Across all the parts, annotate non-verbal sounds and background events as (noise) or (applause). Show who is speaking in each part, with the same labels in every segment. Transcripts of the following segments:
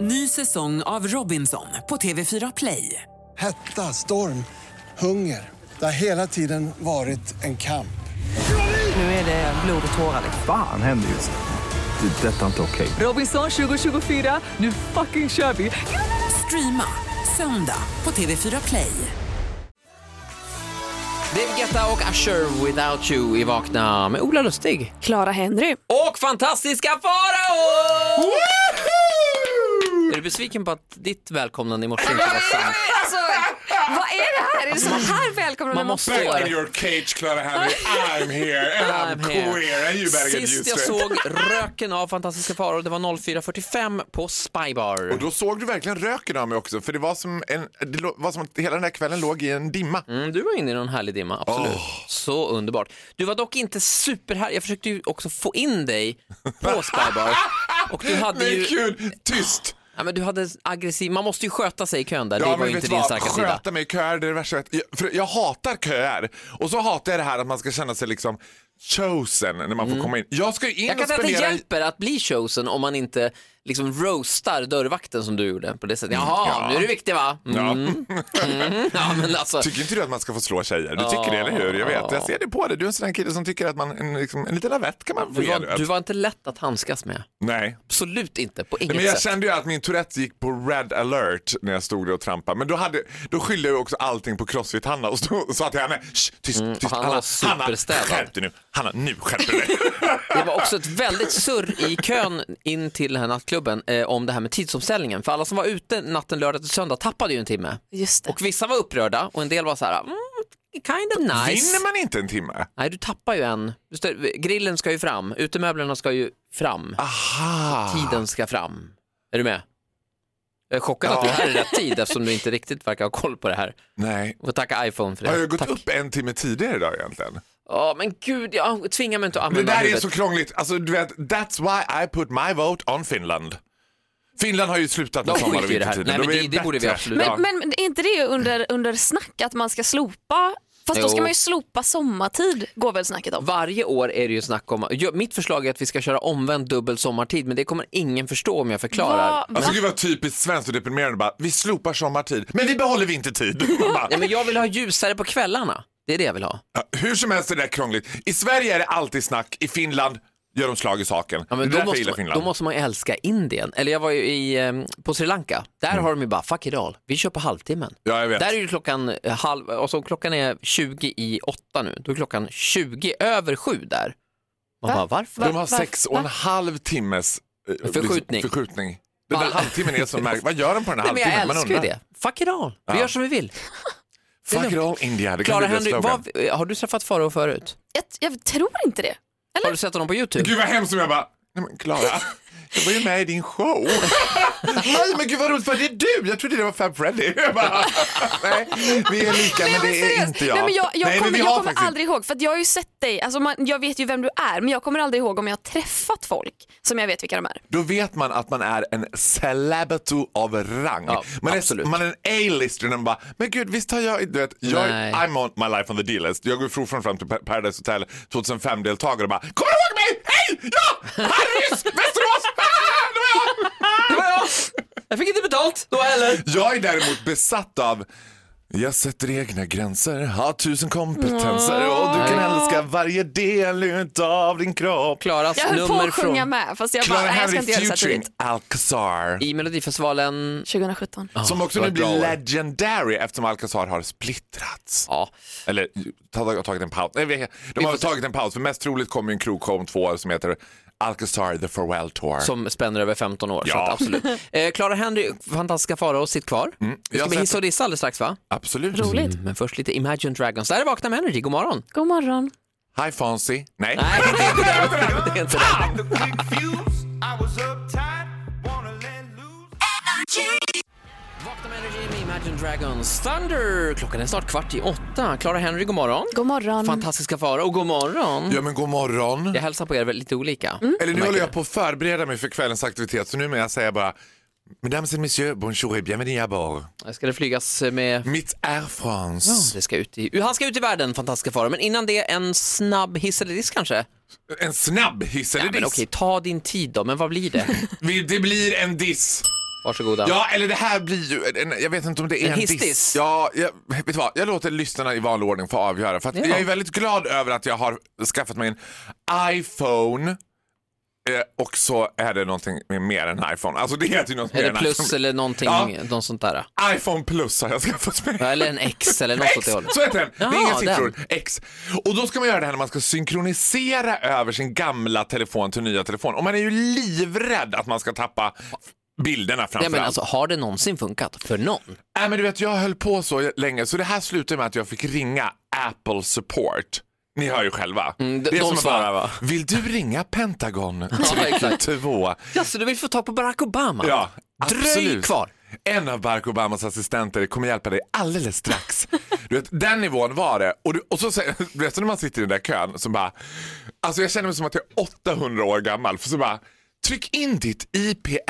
Speaker 1: Ny säsong av Robinson på TV4 Play.
Speaker 2: Hetta, storm, hunger. Det har hela tiden varit en kamp.
Speaker 1: Nu är det blod och tårar. liksom.
Speaker 3: Fan händer just nu. Det. är Detta är inte okej.
Speaker 1: Robinson 2024, nu fucking kör vi! Streama söndag på TV4 Play.
Speaker 4: David Guetta och Usher Without You i Vakna med Ola Lustig.
Speaker 5: Clara Henry.
Speaker 4: Och fantastiska Farao! Är du besviken på att ditt välkomnande i morse inte var sant?
Speaker 5: Alltså, vad är det här? Är det så här välkomna
Speaker 4: Man
Speaker 5: när man
Speaker 4: måste-
Speaker 5: får?
Speaker 6: Back in your cage, Clara Henry. I'm here and I'm,
Speaker 4: I'm here.
Speaker 6: queer. And eh, you better get
Speaker 4: Sist
Speaker 6: used
Speaker 4: jag
Speaker 6: to it.
Speaker 4: såg röken av Fantastiska Farao, det var 04.45 på Spybar.
Speaker 6: Och då såg du verkligen röken av mig också, för det var som, en, det lå- var som att hela den här kvällen låg i en dimma.
Speaker 4: Mm, du var inne i någon härlig dimma, absolut. Så underbart. Du var dock inte superhär. Jag försökte ju också få in dig på
Speaker 6: (laughs)
Speaker 4: Spybar. Och du hade
Speaker 6: Men
Speaker 4: ju...
Speaker 6: kul! Tyst!
Speaker 4: Ja, men du hade aggressiv... Man måste ju sköta sig i kön där.
Speaker 6: Ja,
Speaker 4: det var
Speaker 6: men
Speaker 4: ju
Speaker 6: vet
Speaker 4: inte
Speaker 6: du
Speaker 4: din
Speaker 6: vad?
Speaker 4: starka
Speaker 6: Sköta
Speaker 4: sida.
Speaker 6: mig i köer, det är det värsta jag vet. jag, för jag hatar köer. Och så hatar jag det här att man ska känna sig liksom chosen när man får komma in. Jag ska ju in
Speaker 4: Mm. Jag kan
Speaker 6: och
Speaker 4: säga att det
Speaker 6: spendera...
Speaker 4: hjälper att bli chosen om man inte liksom roastar dörrvakten som du gjorde på det sättet. Jaha, nu är du viktig va?
Speaker 6: Mm, Ja.
Speaker 4: Mm. Mm. (laughs) Ja, men alltså.
Speaker 6: Tycker inte du att man ska få slå tjejer? Du tycker det, eller hur? Jag vet, jag ser det på dig. Du är en sån här kille som tycker att man, en, liksom, en liten lavett kan man få
Speaker 4: Du
Speaker 6: ge.
Speaker 4: var,
Speaker 6: du vet.
Speaker 4: du var inte lätt att handskas med.
Speaker 6: Nej,
Speaker 4: Absolut inte, på inget
Speaker 6: Nej, men jag
Speaker 4: sätt.
Speaker 6: kände ju att min Tourette gick på red alert när jag stod där och trampade. Men då, hade, då skyllde jag ju också allting på Crossfit-Hanna och stod, sa till henne, "Shh, tyst, tyst,
Speaker 4: han Mm, var
Speaker 6: Hanna, Hanna,
Speaker 4: superstädad."
Speaker 6: skärp dig nu, Hanna, nu skärper
Speaker 4: (laughs)
Speaker 6: du dig.
Speaker 4: Det var också ett väldigt surr i kön in till den här nattklubben eh, om det här med tidsomställningen. För alla som var ute natten lördag till söndag tappade ju en timme.
Speaker 5: Just det.
Speaker 4: Och vissa var upprörda och en del var så här, mm, kind of nice.
Speaker 6: Vinner man inte en timme?
Speaker 4: Nej, du tappar ju en. Du stör- Grillen ska ju fram, utemöblerna ska ju fram,
Speaker 6: Aha.
Speaker 4: tiden ska fram. Är du med? Jag är chockad att du är här i rätt tid eftersom du inte riktigt verkar ha koll på det här.
Speaker 6: Nej.
Speaker 4: Och tacka iPhone för det.
Speaker 6: Har jag gått
Speaker 4: Tack.
Speaker 6: upp en timme tidigare idag egentligen?
Speaker 4: Ja, men gud, jag tvingar mig inte att
Speaker 6: Det
Speaker 4: använda
Speaker 6: där är
Speaker 4: huvudet.
Speaker 6: så krångligt. Alltså, du vet, that's why I put my vote on Finland. Finland har ju slutat med
Speaker 4: De
Speaker 6: sommar
Speaker 4: skiter
Speaker 6: och
Speaker 4: i det här. Nej,
Speaker 6: vintertiden.
Speaker 4: men
Speaker 6: De är
Speaker 4: det- det borde vi
Speaker 6: bättre.
Speaker 4: absolut-
Speaker 5: Men,
Speaker 4: Ja.
Speaker 5: men är inte det under, under snack att man ska slopa? Fast
Speaker 4: Jo.
Speaker 5: då ska man ju slopa sommartid, går väl snacket om.
Speaker 4: Varje år är det ju snack om, Jo, mitt förslag är att vi ska köra omvänd dubbel sommartid men det kommer ingen förstå om jag förklarar.
Speaker 5: Va-
Speaker 6: Alltså gud vad typiskt svenskt och deprimerande bara, vi slopar sommartid, men vi behåller vintertid.
Speaker 4: (laughs)
Speaker 6: Bara,
Speaker 4: Nej, men jag vill ha ljusare på kvällarna, det är det jag vill ha.
Speaker 6: Ja, hur som helst är det där krångligt. I Sverige är det alltid snack, i Finland gör de slag i saken.
Speaker 4: Ja,
Speaker 6: det är
Speaker 4: men
Speaker 6: därför
Speaker 4: då,
Speaker 6: jag gillar
Speaker 4: måste man,
Speaker 6: Finland.
Speaker 4: då måste man ju älska Indien. Eller jag var ju i, eh, på Sri Lanka, där
Speaker 6: Mm.
Speaker 4: har de ju bara fuck it all, vi kör på halvtimmen.
Speaker 6: Ja, jag vet.
Speaker 4: Där är ju klockan eh, halv, alltså klockan är 20 i åtta nu, då är klockan 20 över sju där. Man
Speaker 5: Va?
Speaker 4: bara varför?
Speaker 6: De har
Speaker 5: Va-
Speaker 6: sex och en halv timmes eh,
Speaker 4: Förskjutning.
Speaker 6: Liksom, förskjutning. Den där
Speaker 4: Va? (laughs)
Speaker 6: halvtimmen är så märklig. Vad gör de på den här
Speaker 4: Nej, men jag
Speaker 6: halvtimmen? Man
Speaker 4: älskar ju
Speaker 6: undrar.
Speaker 4: det. Fuck it all, vi
Speaker 6: Ja.
Speaker 4: gör som vi vill.
Speaker 6: Fuck it all India, det kan
Speaker 4: Klara
Speaker 6: bli deras
Speaker 4: Henry,
Speaker 6: slogan.
Speaker 4: vad, har du träffat Farao förut?
Speaker 5: Jag, jag tror inte det.
Speaker 4: Har du sett honom på YouTube?
Speaker 6: Gud vad hemskt om jag bara, nej men Klara, jag var ju med i din show. nej men gud vad roligt, för det är du. Jag trodde det var Fab Freddy. Jag bara, nej, vi är lika men det är
Speaker 5: seriöst.
Speaker 6: inte jag.
Speaker 5: Nej, men jag, jag
Speaker 6: Nej,
Speaker 5: kommer,
Speaker 6: vi
Speaker 5: jag
Speaker 6: har
Speaker 5: kommer
Speaker 6: faktiskt-
Speaker 5: aldrig ihåg, för att jag har ju sett dig, alltså man, jag vet ju vem du är, men jag kommer aldrig ihåg om jag har träffat folk som jag vet vilka de är.
Speaker 6: Då vet man att man är en celebrity av rang.
Speaker 4: Ja,
Speaker 6: man,
Speaker 4: absolut.
Speaker 6: är, man är en A-lister när man bara, men gud visst har jag, du vet, jag,
Speaker 4: Nej.
Speaker 6: I'm on my life on the D-list. Jag går från fram till Pa- Paradise Hotel 2005-deltagare och bara, kommer du ihåg mig? Hej! Ja! Här är nyss! Västerås! Ah, det var jag!
Speaker 4: Det var jag! Jag fick inte betalt då heller.
Speaker 6: Jag är däremot besatt av jag sätter egna gränser, har tusen kompetenser och du kan älska varje del utav din kropp.
Speaker 4: Klaras
Speaker 5: Jag höll på
Speaker 4: nummer
Speaker 5: att sjunga
Speaker 4: från
Speaker 5: med, fast jag bara,
Speaker 6: Clara
Speaker 5: nej, jag ska
Speaker 6: Henry
Speaker 5: inte göra det så här
Speaker 6: featuring
Speaker 5: tidigt.
Speaker 6: Alcazar.
Speaker 4: i Melodifestivalen.
Speaker 5: 2017.
Speaker 6: Som
Speaker 4: det
Speaker 6: också
Speaker 4: var
Speaker 6: nu
Speaker 4: ett bra
Speaker 6: blir
Speaker 4: år.
Speaker 6: legendary eftersom Alcazar har splittrats.
Speaker 4: Ja,
Speaker 6: Eller tag- tagit en paus. Nej, vi- de har
Speaker 4: får se.
Speaker 6: tagit en paus för mest troligt kommer ju en krogshow om två år som heter Alcazar the Farewell Tour.
Speaker 4: som spänner över 15 år. Så
Speaker 6: Ja. Mm,
Speaker 4: att
Speaker 6: (laughs)
Speaker 4: absolut. Eh, Clara Henry, fantastiska Farao, sitt kvar. Vi
Speaker 6: jag
Speaker 4: ska
Speaker 6: har
Speaker 4: med
Speaker 6: sett
Speaker 4: hiss och diss alldeles strax va?
Speaker 6: Absolut.
Speaker 5: Roligt.
Speaker 4: Men först lite Imagine Dragons. Där är Vakna med Energy, god
Speaker 6: (laughs)
Speaker 4: morgon.
Speaker 5: God morgon.
Speaker 6: Hi Fonzie. Nej.
Speaker 4: Nej, det är inte det. Det är inte det. Vakna med Energy med Imagine Dragons. Thunder! Klockan är snart kvart i åtta. Clara Henry, god morgon.
Speaker 5: God morgon.
Speaker 4: Fantastiska Farao, god morgon.
Speaker 6: Ja men god morgon.
Speaker 4: Jag hälsar på er väl lite olika.
Speaker 6: Eller nu
Speaker 4: märker
Speaker 6: håller jag
Speaker 4: det.
Speaker 6: på att förbereda mig för kvällens aktivitet så nu med jag säger bara Mesdames et messieurs, bonjour et bienvenue à bord.
Speaker 4: Ska det flygas med
Speaker 6: Mitt Air France.
Speaker 4: Det ska ut i, han ska ut i världen, fantastiska faror. Men innan det, en snabb hiss eller diss kanske?
Speaker 6: En snabb hiss eller
Speaker 4: Ja, men
Speaker 6: diss? (laughs)
Speaker 4: okej, ta din tid då, men vad blir det?
Speaker 6: Vi- Det blir en diss.
Speaker 4: Varsågoda.
Speaker 6: Ja, eller det här blir ju, en, jag vet inte om det är
Speaker 4: En
Speaker 6: en,
Speaker 4: hiss-diss?
Speaker 6: diss. Ja, jag, vet du vad, jag låter lyssnarna i vanlig ordning få avgöra. För att
Speaker 4: Ja.
Speaker 6: Jag är väldigt glad över att jag har skaffat mig en iPhone eh, och så är det någonting med mer än iPhone. Alltså det heter ju något
Speaker 4: Är
Speaker 6: mer
Speaker 4: det
Speaker 6: än
Speaker 4: plus
Speaker 6: iPhone.
Speaker 4: eller någonting,
Speaker 6: Ja.
Speaker 4: något sånt där?
Speaker 6: iPhone plus har jag skaffat mig.
Speaker 4: Ja, Eller en X eller något åt
Speaker 6: X,
Speaker 4: det hållet.
Speaker 6: så heter den. det är inga
Speaker 4: Jaha, den.
Speaker 6: siffror. X. Och då ska man göra det här när man ska synkronisera över sin gamla telefon till nya telefon. Och man är ju livrädd att man ska tappa bilderna framför
Speaker 4: Ja, men
Speaker 6: allt.
Speaker 4: alltså, har det någonsin funkat för någon?
Speaker 6: Nej, men du vet, jag höll på så länge så det här slutade med att jag fick ringa Apple support. Ni hör ju själva.
Speaker 4: Mm, de-
Speaker 6: är
Speaker 4: de
Speaker 6: som att
Speaker 4: svarar, va?
Speaker 6: Vill du ringa
Speaker 4: (laughs)
Speaker 6: Pentagon?
Speaker 4: exakt.
Speaker 6: Två.
Speaker 4: Ja, så du vill få tag på Barack Obama?
Speaker 6: Ja,
Speaker 4: Dröj
Speaker 6: absolut.
Speaker 4: kvar.
Speaker 6: En av Barack Obamas assistenter kommer hjälpa dig alldeles strax. (laughs) Du vet, den nivån var det. Och, du, och så säger, (laughs) du vet när man sitter i den där kön så bara, alltså jag känner mig som att jag är 800 år gammal. För så bara, tryck in ditt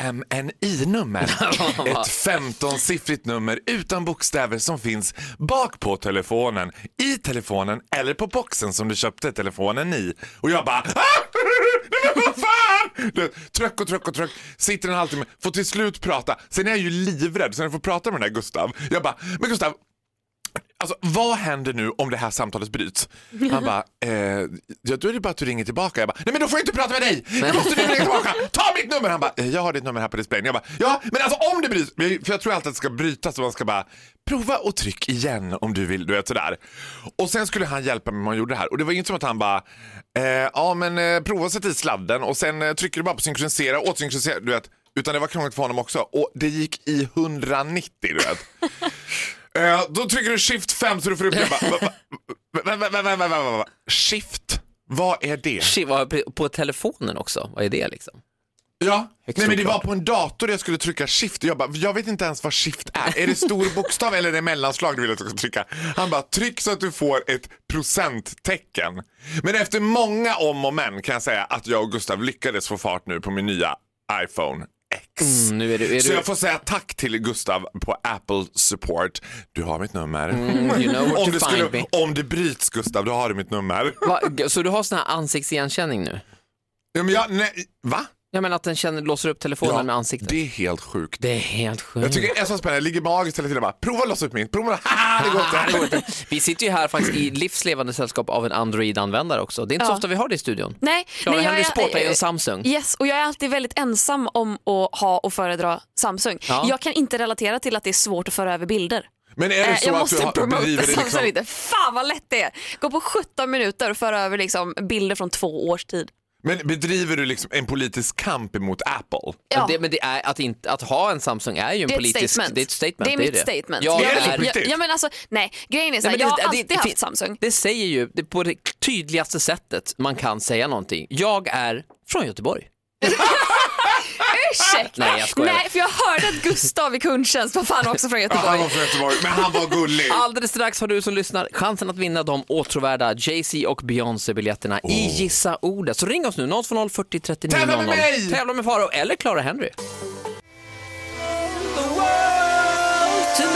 Speaker 4: (laughs)
Speaker 6: IPMNI-nummer. Ett 15-siffrigt nummer utan bokstäver som finns bak på telefonen, i telefonen eller på boxen som du köpte telefonen i. Och jag bara, "Ah!" Nej, men vad fan! Du vet, Tröck och tröck och tröck. Sitter en halvtimme, får till slut prata. Sen är jag ju livrädd, så när jag får prata med den där Gustav. Jag bara, men Gustav, alltså, vad händer nu om det här samtalet bryts? Han bara, eh, ja, då är det bara att du ringer tillbaka. Jag bara, nej men då får jag inte prata med dig! Jag måste nu ringa tillbaka! Ta mitt nummer! Han bara, eh, jag har ditt nummer här på displayen. Jag bara, ja men alltså om det bryts, men jag- för jag tror alltid att det ska brytas och man ska bara, prova och tryck igen om du vill, du vet sådär. Och sen skulle han hjälpa mig med hur man gjorde det här och det var ju inte som att han bara, eh, ja men eh, prova att sätta i sladden och sen eh, trycker du bara på synkronisera, återsynkronisera, du vet. Utan det var krångligt för honom också och det gick i 190 du vet. Eh, då trycker du shift 5 så du får upp det. Jag bara, va- va- va- va- va- va- va- va- va- va- Shift, vad är det?
Speaker 4: Shit, vad- På telefonen också, vad är det liksom?
Speaker 6: Ja,
Speaker 4: Högst
Speaker 6: nej men det var
Speaker 4: oklart.
Speaker 6: på en dator jag skulle trycka shift. Jag bara, jag vet inte ens vad shift är. Är det stor bokstav eller är det mellanslag du vill att jag ska trycka? Han bara, tryck så att du får ett procenttecken. Men efter många om och men kan jag säga att jag och Gustav lyckades få fart nu på min nya iPhone X.
Speaker 4: Mm, nu är du, är
Speaker 6: Så
Speaker 4: du,
Speaker 6: jag får säga tack till Gustav på Apple Support. Du har mitt nummer.
Speaker 4: you know where
Speaker 6: Mm. om,
Speaker 4: to
Speaker 6: det
Speaker 4: find me.
Speaker 6: skulle, om det bryts Gustav, då har du mitt nummer.
Speaker 4: Va, så du har sån här ansiktsigenkänning nu?
Speaker 6: Ja, men jag, nej, va?
Speaker 4: Ja, men att den känner, låser upp telefonen med ansiktet?
Speaker 6: Det är helt sjukt.
Speaker 4: Det är helt sjukt.
Speaker 6: Jag tycker det är så spännande. Jag ligger magiskt hela tiden och bara prova att lossa upp mitt. Prova. (laughs) Haha, det går
Speaker 4: Ah, det går
Speaker 6: inte.
Speaker 4: inte. Vi sitter ju här faktiskt i livslevande sällskap av en Android-användare också. Det är inte så
Speaker 5: Ja.
Speaker 4: ofta vi har det i studion.
Speaker 5: Nej,
Speaker 4: Clara
Speaker 5: nej,
Speaker 4: Henry Sport är ju en
Speaker 5: eh,
Speaker 4: Samsung.
Speaker 5: Yes, och jag är alltid väldigt ensam om att ha och föredra Samsung.
Speaker 4: Ja.
Speaker 5: Jag kan inte relatera till att det är svårt att föra över bilder.
Speaker 6: Men är
Speaker 5: Eh,
Speaker 6: det så
Speaker 5: jag
Speaker 6: att du
Speaker 5: måste
Speaker 6: har,
Speaker 5: promota
Speaker 6: bedriver det
Speaker 5: Samsung
Speaker 6: liksom,
Speaker 5: lite. Fan vad lätt det är. Gå på 17 minuter och föra över liksom bilder från två års tid.
Speaker 6: men bedriver du liksom en politisk kamp emot Apple?
Speaker 5: Ja.
Speaker 4: Men, det, men det är att, inte, att ha en Samsung är ju en
Speaker 5: Det är ett
Speaker 4: politisk...
Speaker 5: statement.
Speaker 4: Det är ett statement.
Speaker 5: Det är mitt statement.
Speaker 4: Ja,
Speaker 5: Jag-
Speaker 6: Är det så på
Speaker 5: jag-
Speaker 6: riktigt?
Speaker 5: Ja, men alltså, nej, grejen är så här,
Speaker 4: Nej,
Speaker 5: jag
Speaker 4: men
Speaker 5: har
Speaker 4: det- det-
Speaker 5: alltid
Speaker 4: det
Speaker 5: haft
Speaker 4: fin-
Speaker 5: Samsung.
Speaker 4: Det säger ju det, på det tydligaste sättet man kan säga någonting. Jag är från Göteborg.
Speaker 5: Ursäkta!
Speaker 4: Nej, jag skojar.
Speaker 5: Nej, för jag hörde att Gustav i kundtjänst var fan också från
Speaker 6: Ja, han
Speaker 5: Göteborg.
Speaker 6: var från Göteborg, men han var gullig.
Speaker 4: Alldeles strax har du som lyssnar chansen att vinna de åtråvärda Jay-Z och Beyoncé-biljetterna i Gissa ordet. Så ring oss nu, 020 40 39
Speaker 6: Oh. Tävla med
Speaker 4: 00.
Speaker 6: mig!
Speaker 4: Tävla med Faro eller Clara Henry.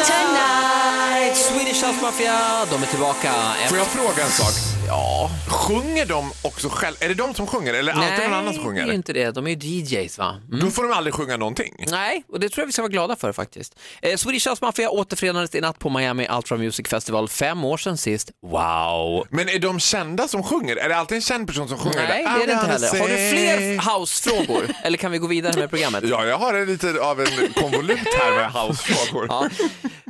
Speaker 4: Tonight, Swedish House Mafia, de är tillbaka.
Speaker 6: Får jag fråga en sak? Ja. Sjunger de också själv? Är det de som sjunger eller är det alltid någon annan som
Speaker 4: det är ju
Speaker 6: sjunger?
Speaker 4: inte det. De är ju DJs va? Mm.
Speaker 6: Då får de aldrig sjunga någonting.
Speaker 4: Nej, och det tror jag vi ska vara glada för faktiskt. Eh, Swedish House Mafia återförenades i natt på Miami Ultra Music Festival fem år sedan sist. Wow!
Speaker 6: Men är de kända som sjunger? Är det alltid en känd person som sjunger?
Speaker 4: Nej, det
Speaker 6: I'm
Speaker 4: är det inte
Speaker 6: gonna
Speaker 4: heller. Har du
Speaker 6: say-
Speaker 4: fler housefrågor?
Speaker 6: (laughs)
Speaker 4: Eller kan vi gå vidare med programmet?
Speaker 6: Ja, jag har en lite av en konvolut här med housefrågor.
Speaker 4: Ja.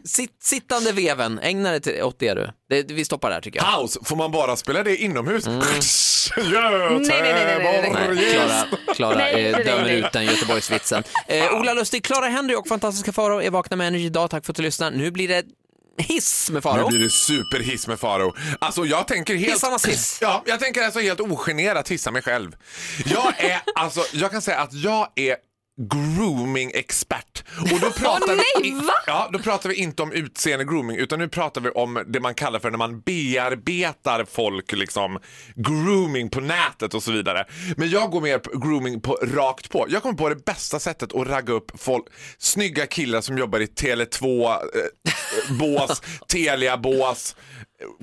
Speaker 4: Sitt, sittande veven, ägna dig till- åt det du. Det, vi stoppar där tycker jag.
Speaker 6: House, får man bara spela det inomhus? (laughs)
Speaker 5: nej, nej, nej, nej,
Speaker 6: Göteborg.
Speaker 4: Mm. Nej, Klara, Klara
Speaker 5: Nej,
Speaker 4: eh,
Speaker 5: nej,
Speaker 4: dömer
Speaker 5: nej.
Speaker 4: ut den Göteborgsvitsen. Eh, Ola Lustig, Klara Henry och fantastiska Faro är vakna med Energy idag. Tack för att du lyssnade. Nu blir det hiss med
Speaker 6: Nu
Speaker 4: Faro.
Speaker 6: blir det superhiss med Faro. Alltså jag tänker helt...
Speaker 4: Hissarnas hiss.
Speaker 6: Ja, jag tänker alltså helt ogenerat hissa mig själv. Jag är, alltså, jag kan säga att jag är grooming-expert. Och då pratar,
Speaker 5: Åh,
Speaker 6: vi,
Speaker 5: nej, va?
Speaker 6: ja, då pratar vi inte om utseende grooming utan nu pratar vi om det man kallar för när man bearbetar folk, liksom grooming på nätet och så vidare. Men jag går mer på grooming på rakt på. Jag kommer på det bästa sättet att ragga upp folk, snygga killar som jobbar i Tele2, eh, bås, Telia-bås,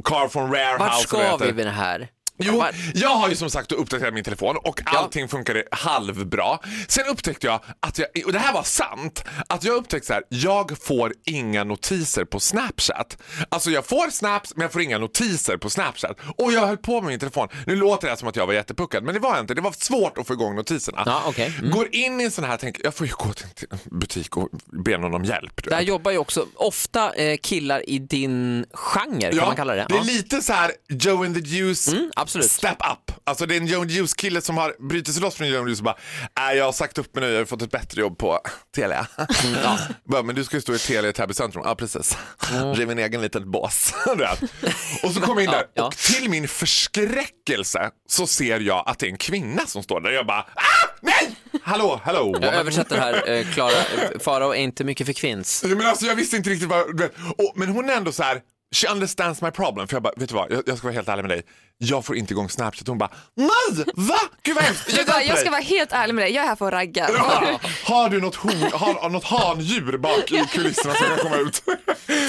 Speaker 6: Car from Rare
Speaker 4: Vart
Speaker 6: House. och vad
Speaker 4: ska
Speaker 6: det
Speaker 4: vi
Speaker 6: heter.
Speaker 4: med det här?
Speaker 6: Jo, jag har ju som sagt uppdaterat min telefon och allting funkade halvbra. Sen upptäckte jag, att jag, och det här var sant, att jag upptäckte så här, jag får inga notiser på Snapchat. Alltså jag får snaps men jag får inga notiser på Snapchat. Och jag höll på med min telefon. Nu låter det här som att jag var jättepuckad men det var jag inte. Det var svårt att få igång notiserna.
Speaker 4: Ja, okej. Mm.
Speaker 6: Går in i en sån här, tänker jag får ju gå till en t- butik och be någon om hjälp. du
Speaker 4: Där
Speaker 6: vet.
Speaker 4: jobbar ju också ofta eh, killar i din genre, kan man kalla det? Mm,
Speaker 6: är lite så här Joe and the Juice
Speaker 4: absolut.
Speaker 6: step up. Alltså det är en Joe and the Juice kille som har brutit sig loss från Joe and the Juice och bara, äh, jag har sagt upp mig nu, jag har fått ett bättre jobb på
Speaker 4: (laughs)
Speaker 6: Telia.
Speaker 4: Mm,
Speaker 6: (laughs) Bara, Men du ska ju stå i Telia i Täby centrum. Ja precis, driv en egen liten bås. (laughs) Du vet. och så kommer jag in där
Speaker 4: Mm. Ja, ja.
Speaker 6: och till min förskräckelse så ser jag att det är en kvinna som står där. Jag bara, ah, nej! Hallå, hallå!
Speaker 4: Jag översätter här, eh, Klara. Eh, Farao är inte mycket för
Speaker 6: (laughs)
Speaker 4: kvinns.
Speaker 6: Ja, Men alltså, jag visste inte riktigt vad... du vet. Och, men hon är ändå så här... She understands my problem. För jag bara, vet du vad? Jag, jag ska vara helt ärlig med dig. Jag får inte igång Snapchat. Hon bara, nej! Va? Gud vad hemskt!
Speaker 5: Du bara,
Speaker 6: hjälper
Speaker 5: jag ska
Speaker 6: dig."
Speaker 5: vara helt ärlig med dig, jag är här för att ragga.
Speaker 6: Ja. Har du något, hon, har, något handjur bak i kulisserna som kan komma ut?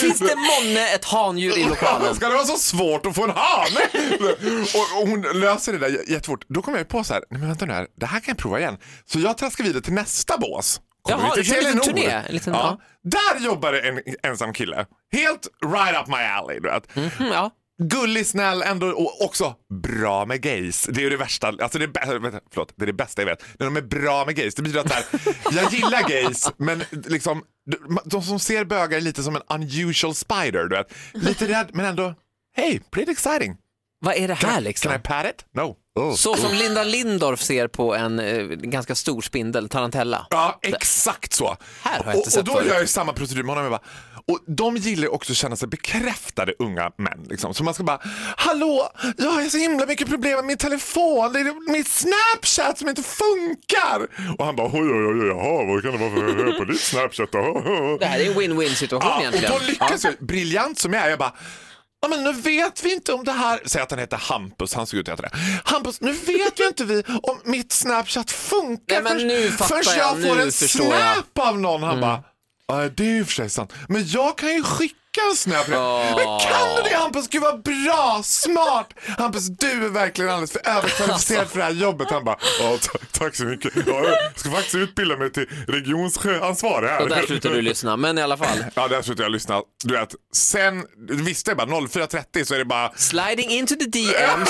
Speaker 4: Finns det månne ett handjur
Speaker 6: (laughs)
Speaker 4: i lokalen?
Speaker 6: Ska det vara så svårt att få en hane? (laughs) och, och hon löser det där j- jättefort. Då kommer jag ju på så här, nej men vänta nu här, det här kan jag prova igen. Så jag traskar vidare till nästa bås. Kommer
Speaker 4: Jaha,
Speaker 6: vi
Speaker 4: du kör en liten
Speaker 6: Telenor.
Speaker 4: turné, liksom, en liten-
Speaker 6: ja. Där jobbar det en ensam kille. Helt right up my alley, du vet.
Speaker 4: Mm, ja.
Speaker 6: Gullig, snäll, ändå och också bra med gays. Det är ju det värsta, alltså det, är bä- vänta, förlåt, det är det bästa jag vet. När de är bra med gays, det betyder att så här, jag gillar gays men liksom de- de som ser bögar är lite som en unusual spider, du vet. Lite rädd men ändå, hey, pretty exciting.
Speaker 4: Vad är det här
Speaker 6: Can
Speaker 4: liksom?
Speaker 6: I pat it? No. Oh.
Speaker 4: Så som Linda Lindorff ser på en eh, ganska stor spindel, tarantella.
Speaker 6: Ja, exakt så.
Speaker 4: Här har jag inte
Speaker 6: och,
Speaker 4: sett
Speaker 6: och då
Speaker 4: förut.
Speaker 6: gör jag ju samma procedur med honom. Jag bara, och de gillar ju också att känna sig bekräftade unga män. Liksom. Så man ska bara, hallå, jag har så himla mycket problem med min telefon. Det är min Snapchat som inte funkar. Och han bara, oj, oj, oj, jaha, vad kan det vara för fel på ditt Snapchat då?
Speaker 4: Det här är en win-win situation
Speaker 6: Ja, och
Speaker 4: egentligen.
Speaker 6: då lyckas jag, briljant som jag är, jag bara Ja, men nu vet vi inte om det här, säg att han heter Hampus, han såg ut att heta det. Hampus, nu vet ju inte vi om mitt Snapchat funkar
Speaker 4: Nej, men
Speaker 6: förrän-
Speaker 4: nu fattar
Speaker 6: förrän
Speaker 4: jag,
Speaker 6: jag får
Speaker 4: nu
Speaker 6: en
Speaker 4: förstår jag. Mm.
Speaker 6: snap av någon. Han bara, ja det är ju i och för sig sant, men jag kan ju skicka en snap. Men kan du det Hampus? Gud vad bra, smart! Hampus, du är verkligen alldeles för överkvalificerad för det här jobbet. Han bara, ja ta- tack så mycket. Ja, jag ska faktiskt utbilda mig till regionsansvarig här.
Speaker 4: Och där slutar du lyssna, men i alla fall.
Speaker 6: Ja, där slutade jag lyssna. Du vet, sen, visst det är bara 04.30 så är det bara...
Speaker 4: Sliding into the DMs.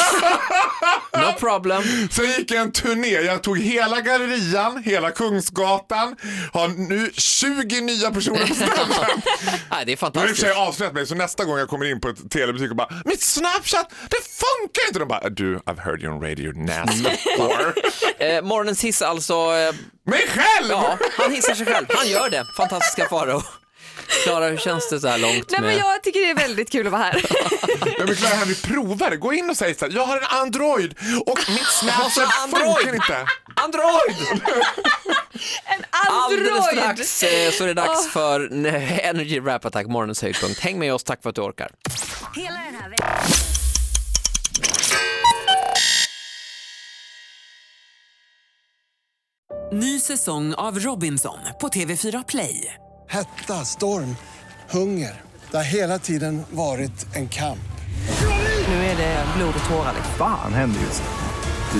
Speaker 4: No problem.
Speaker 6: Sen gick jag en turné. Jag tog hela gallerian, hela Kungsgatan. Har nu 20 nya
Speaker 4: (laughs)
Speaker 6: personer på ställen.
Speaker 4: Nej, det är
Speaker 6: Nu har i och för
Speaker 4: fantastiskt.
Speaker 6: sig avslöjat mig så nästa gång jag kommer in på ett telebutik och bara Mitt Snapchat, det funkar inte! De bara du, I've heard you on radio nasty whore.
Speaker 4: Eh, morgonens hiss alltså. Eh,
Speaker 6: Mig själv!
Speaker 4: ja, han hissar sig själv. Han gör det. Fantastiska Farao. Klara, hur känns det så här långt?
Speaker 5: Nej men
Speaker 4: med-
Speaker 5: jag tycker det är väldigt kul att
Speaker 4: (laughs)
Speaker 5: vara här.
Speaker 6: Jag vill klara Henry, prova det. Gå in och säg så här, jag har en Android och mitt Snapchat
Speaker 4: Android.
Speaker 6: funkar inte.
Speaker 4: Android!
Speaker 5: En
Speaker 4: Alldeles
Speaker 5: Android! Ah.
Speaker 4: strax eh, så är det dags för eh, Energy Rap Attack, morgonens höjdpunkt. Häng med oss, tack för att du orkar.
Speaker 7: Hela den här veckan.
Speaker 1: Ny säsong av Robinson på TV4 Play.
Speaker 2: Hetta, storm, hunger. Det har hela tiden varit en kamp.
Speaker 1: Nu är det blod och tårar.
Speaker 3: Fan händer just det.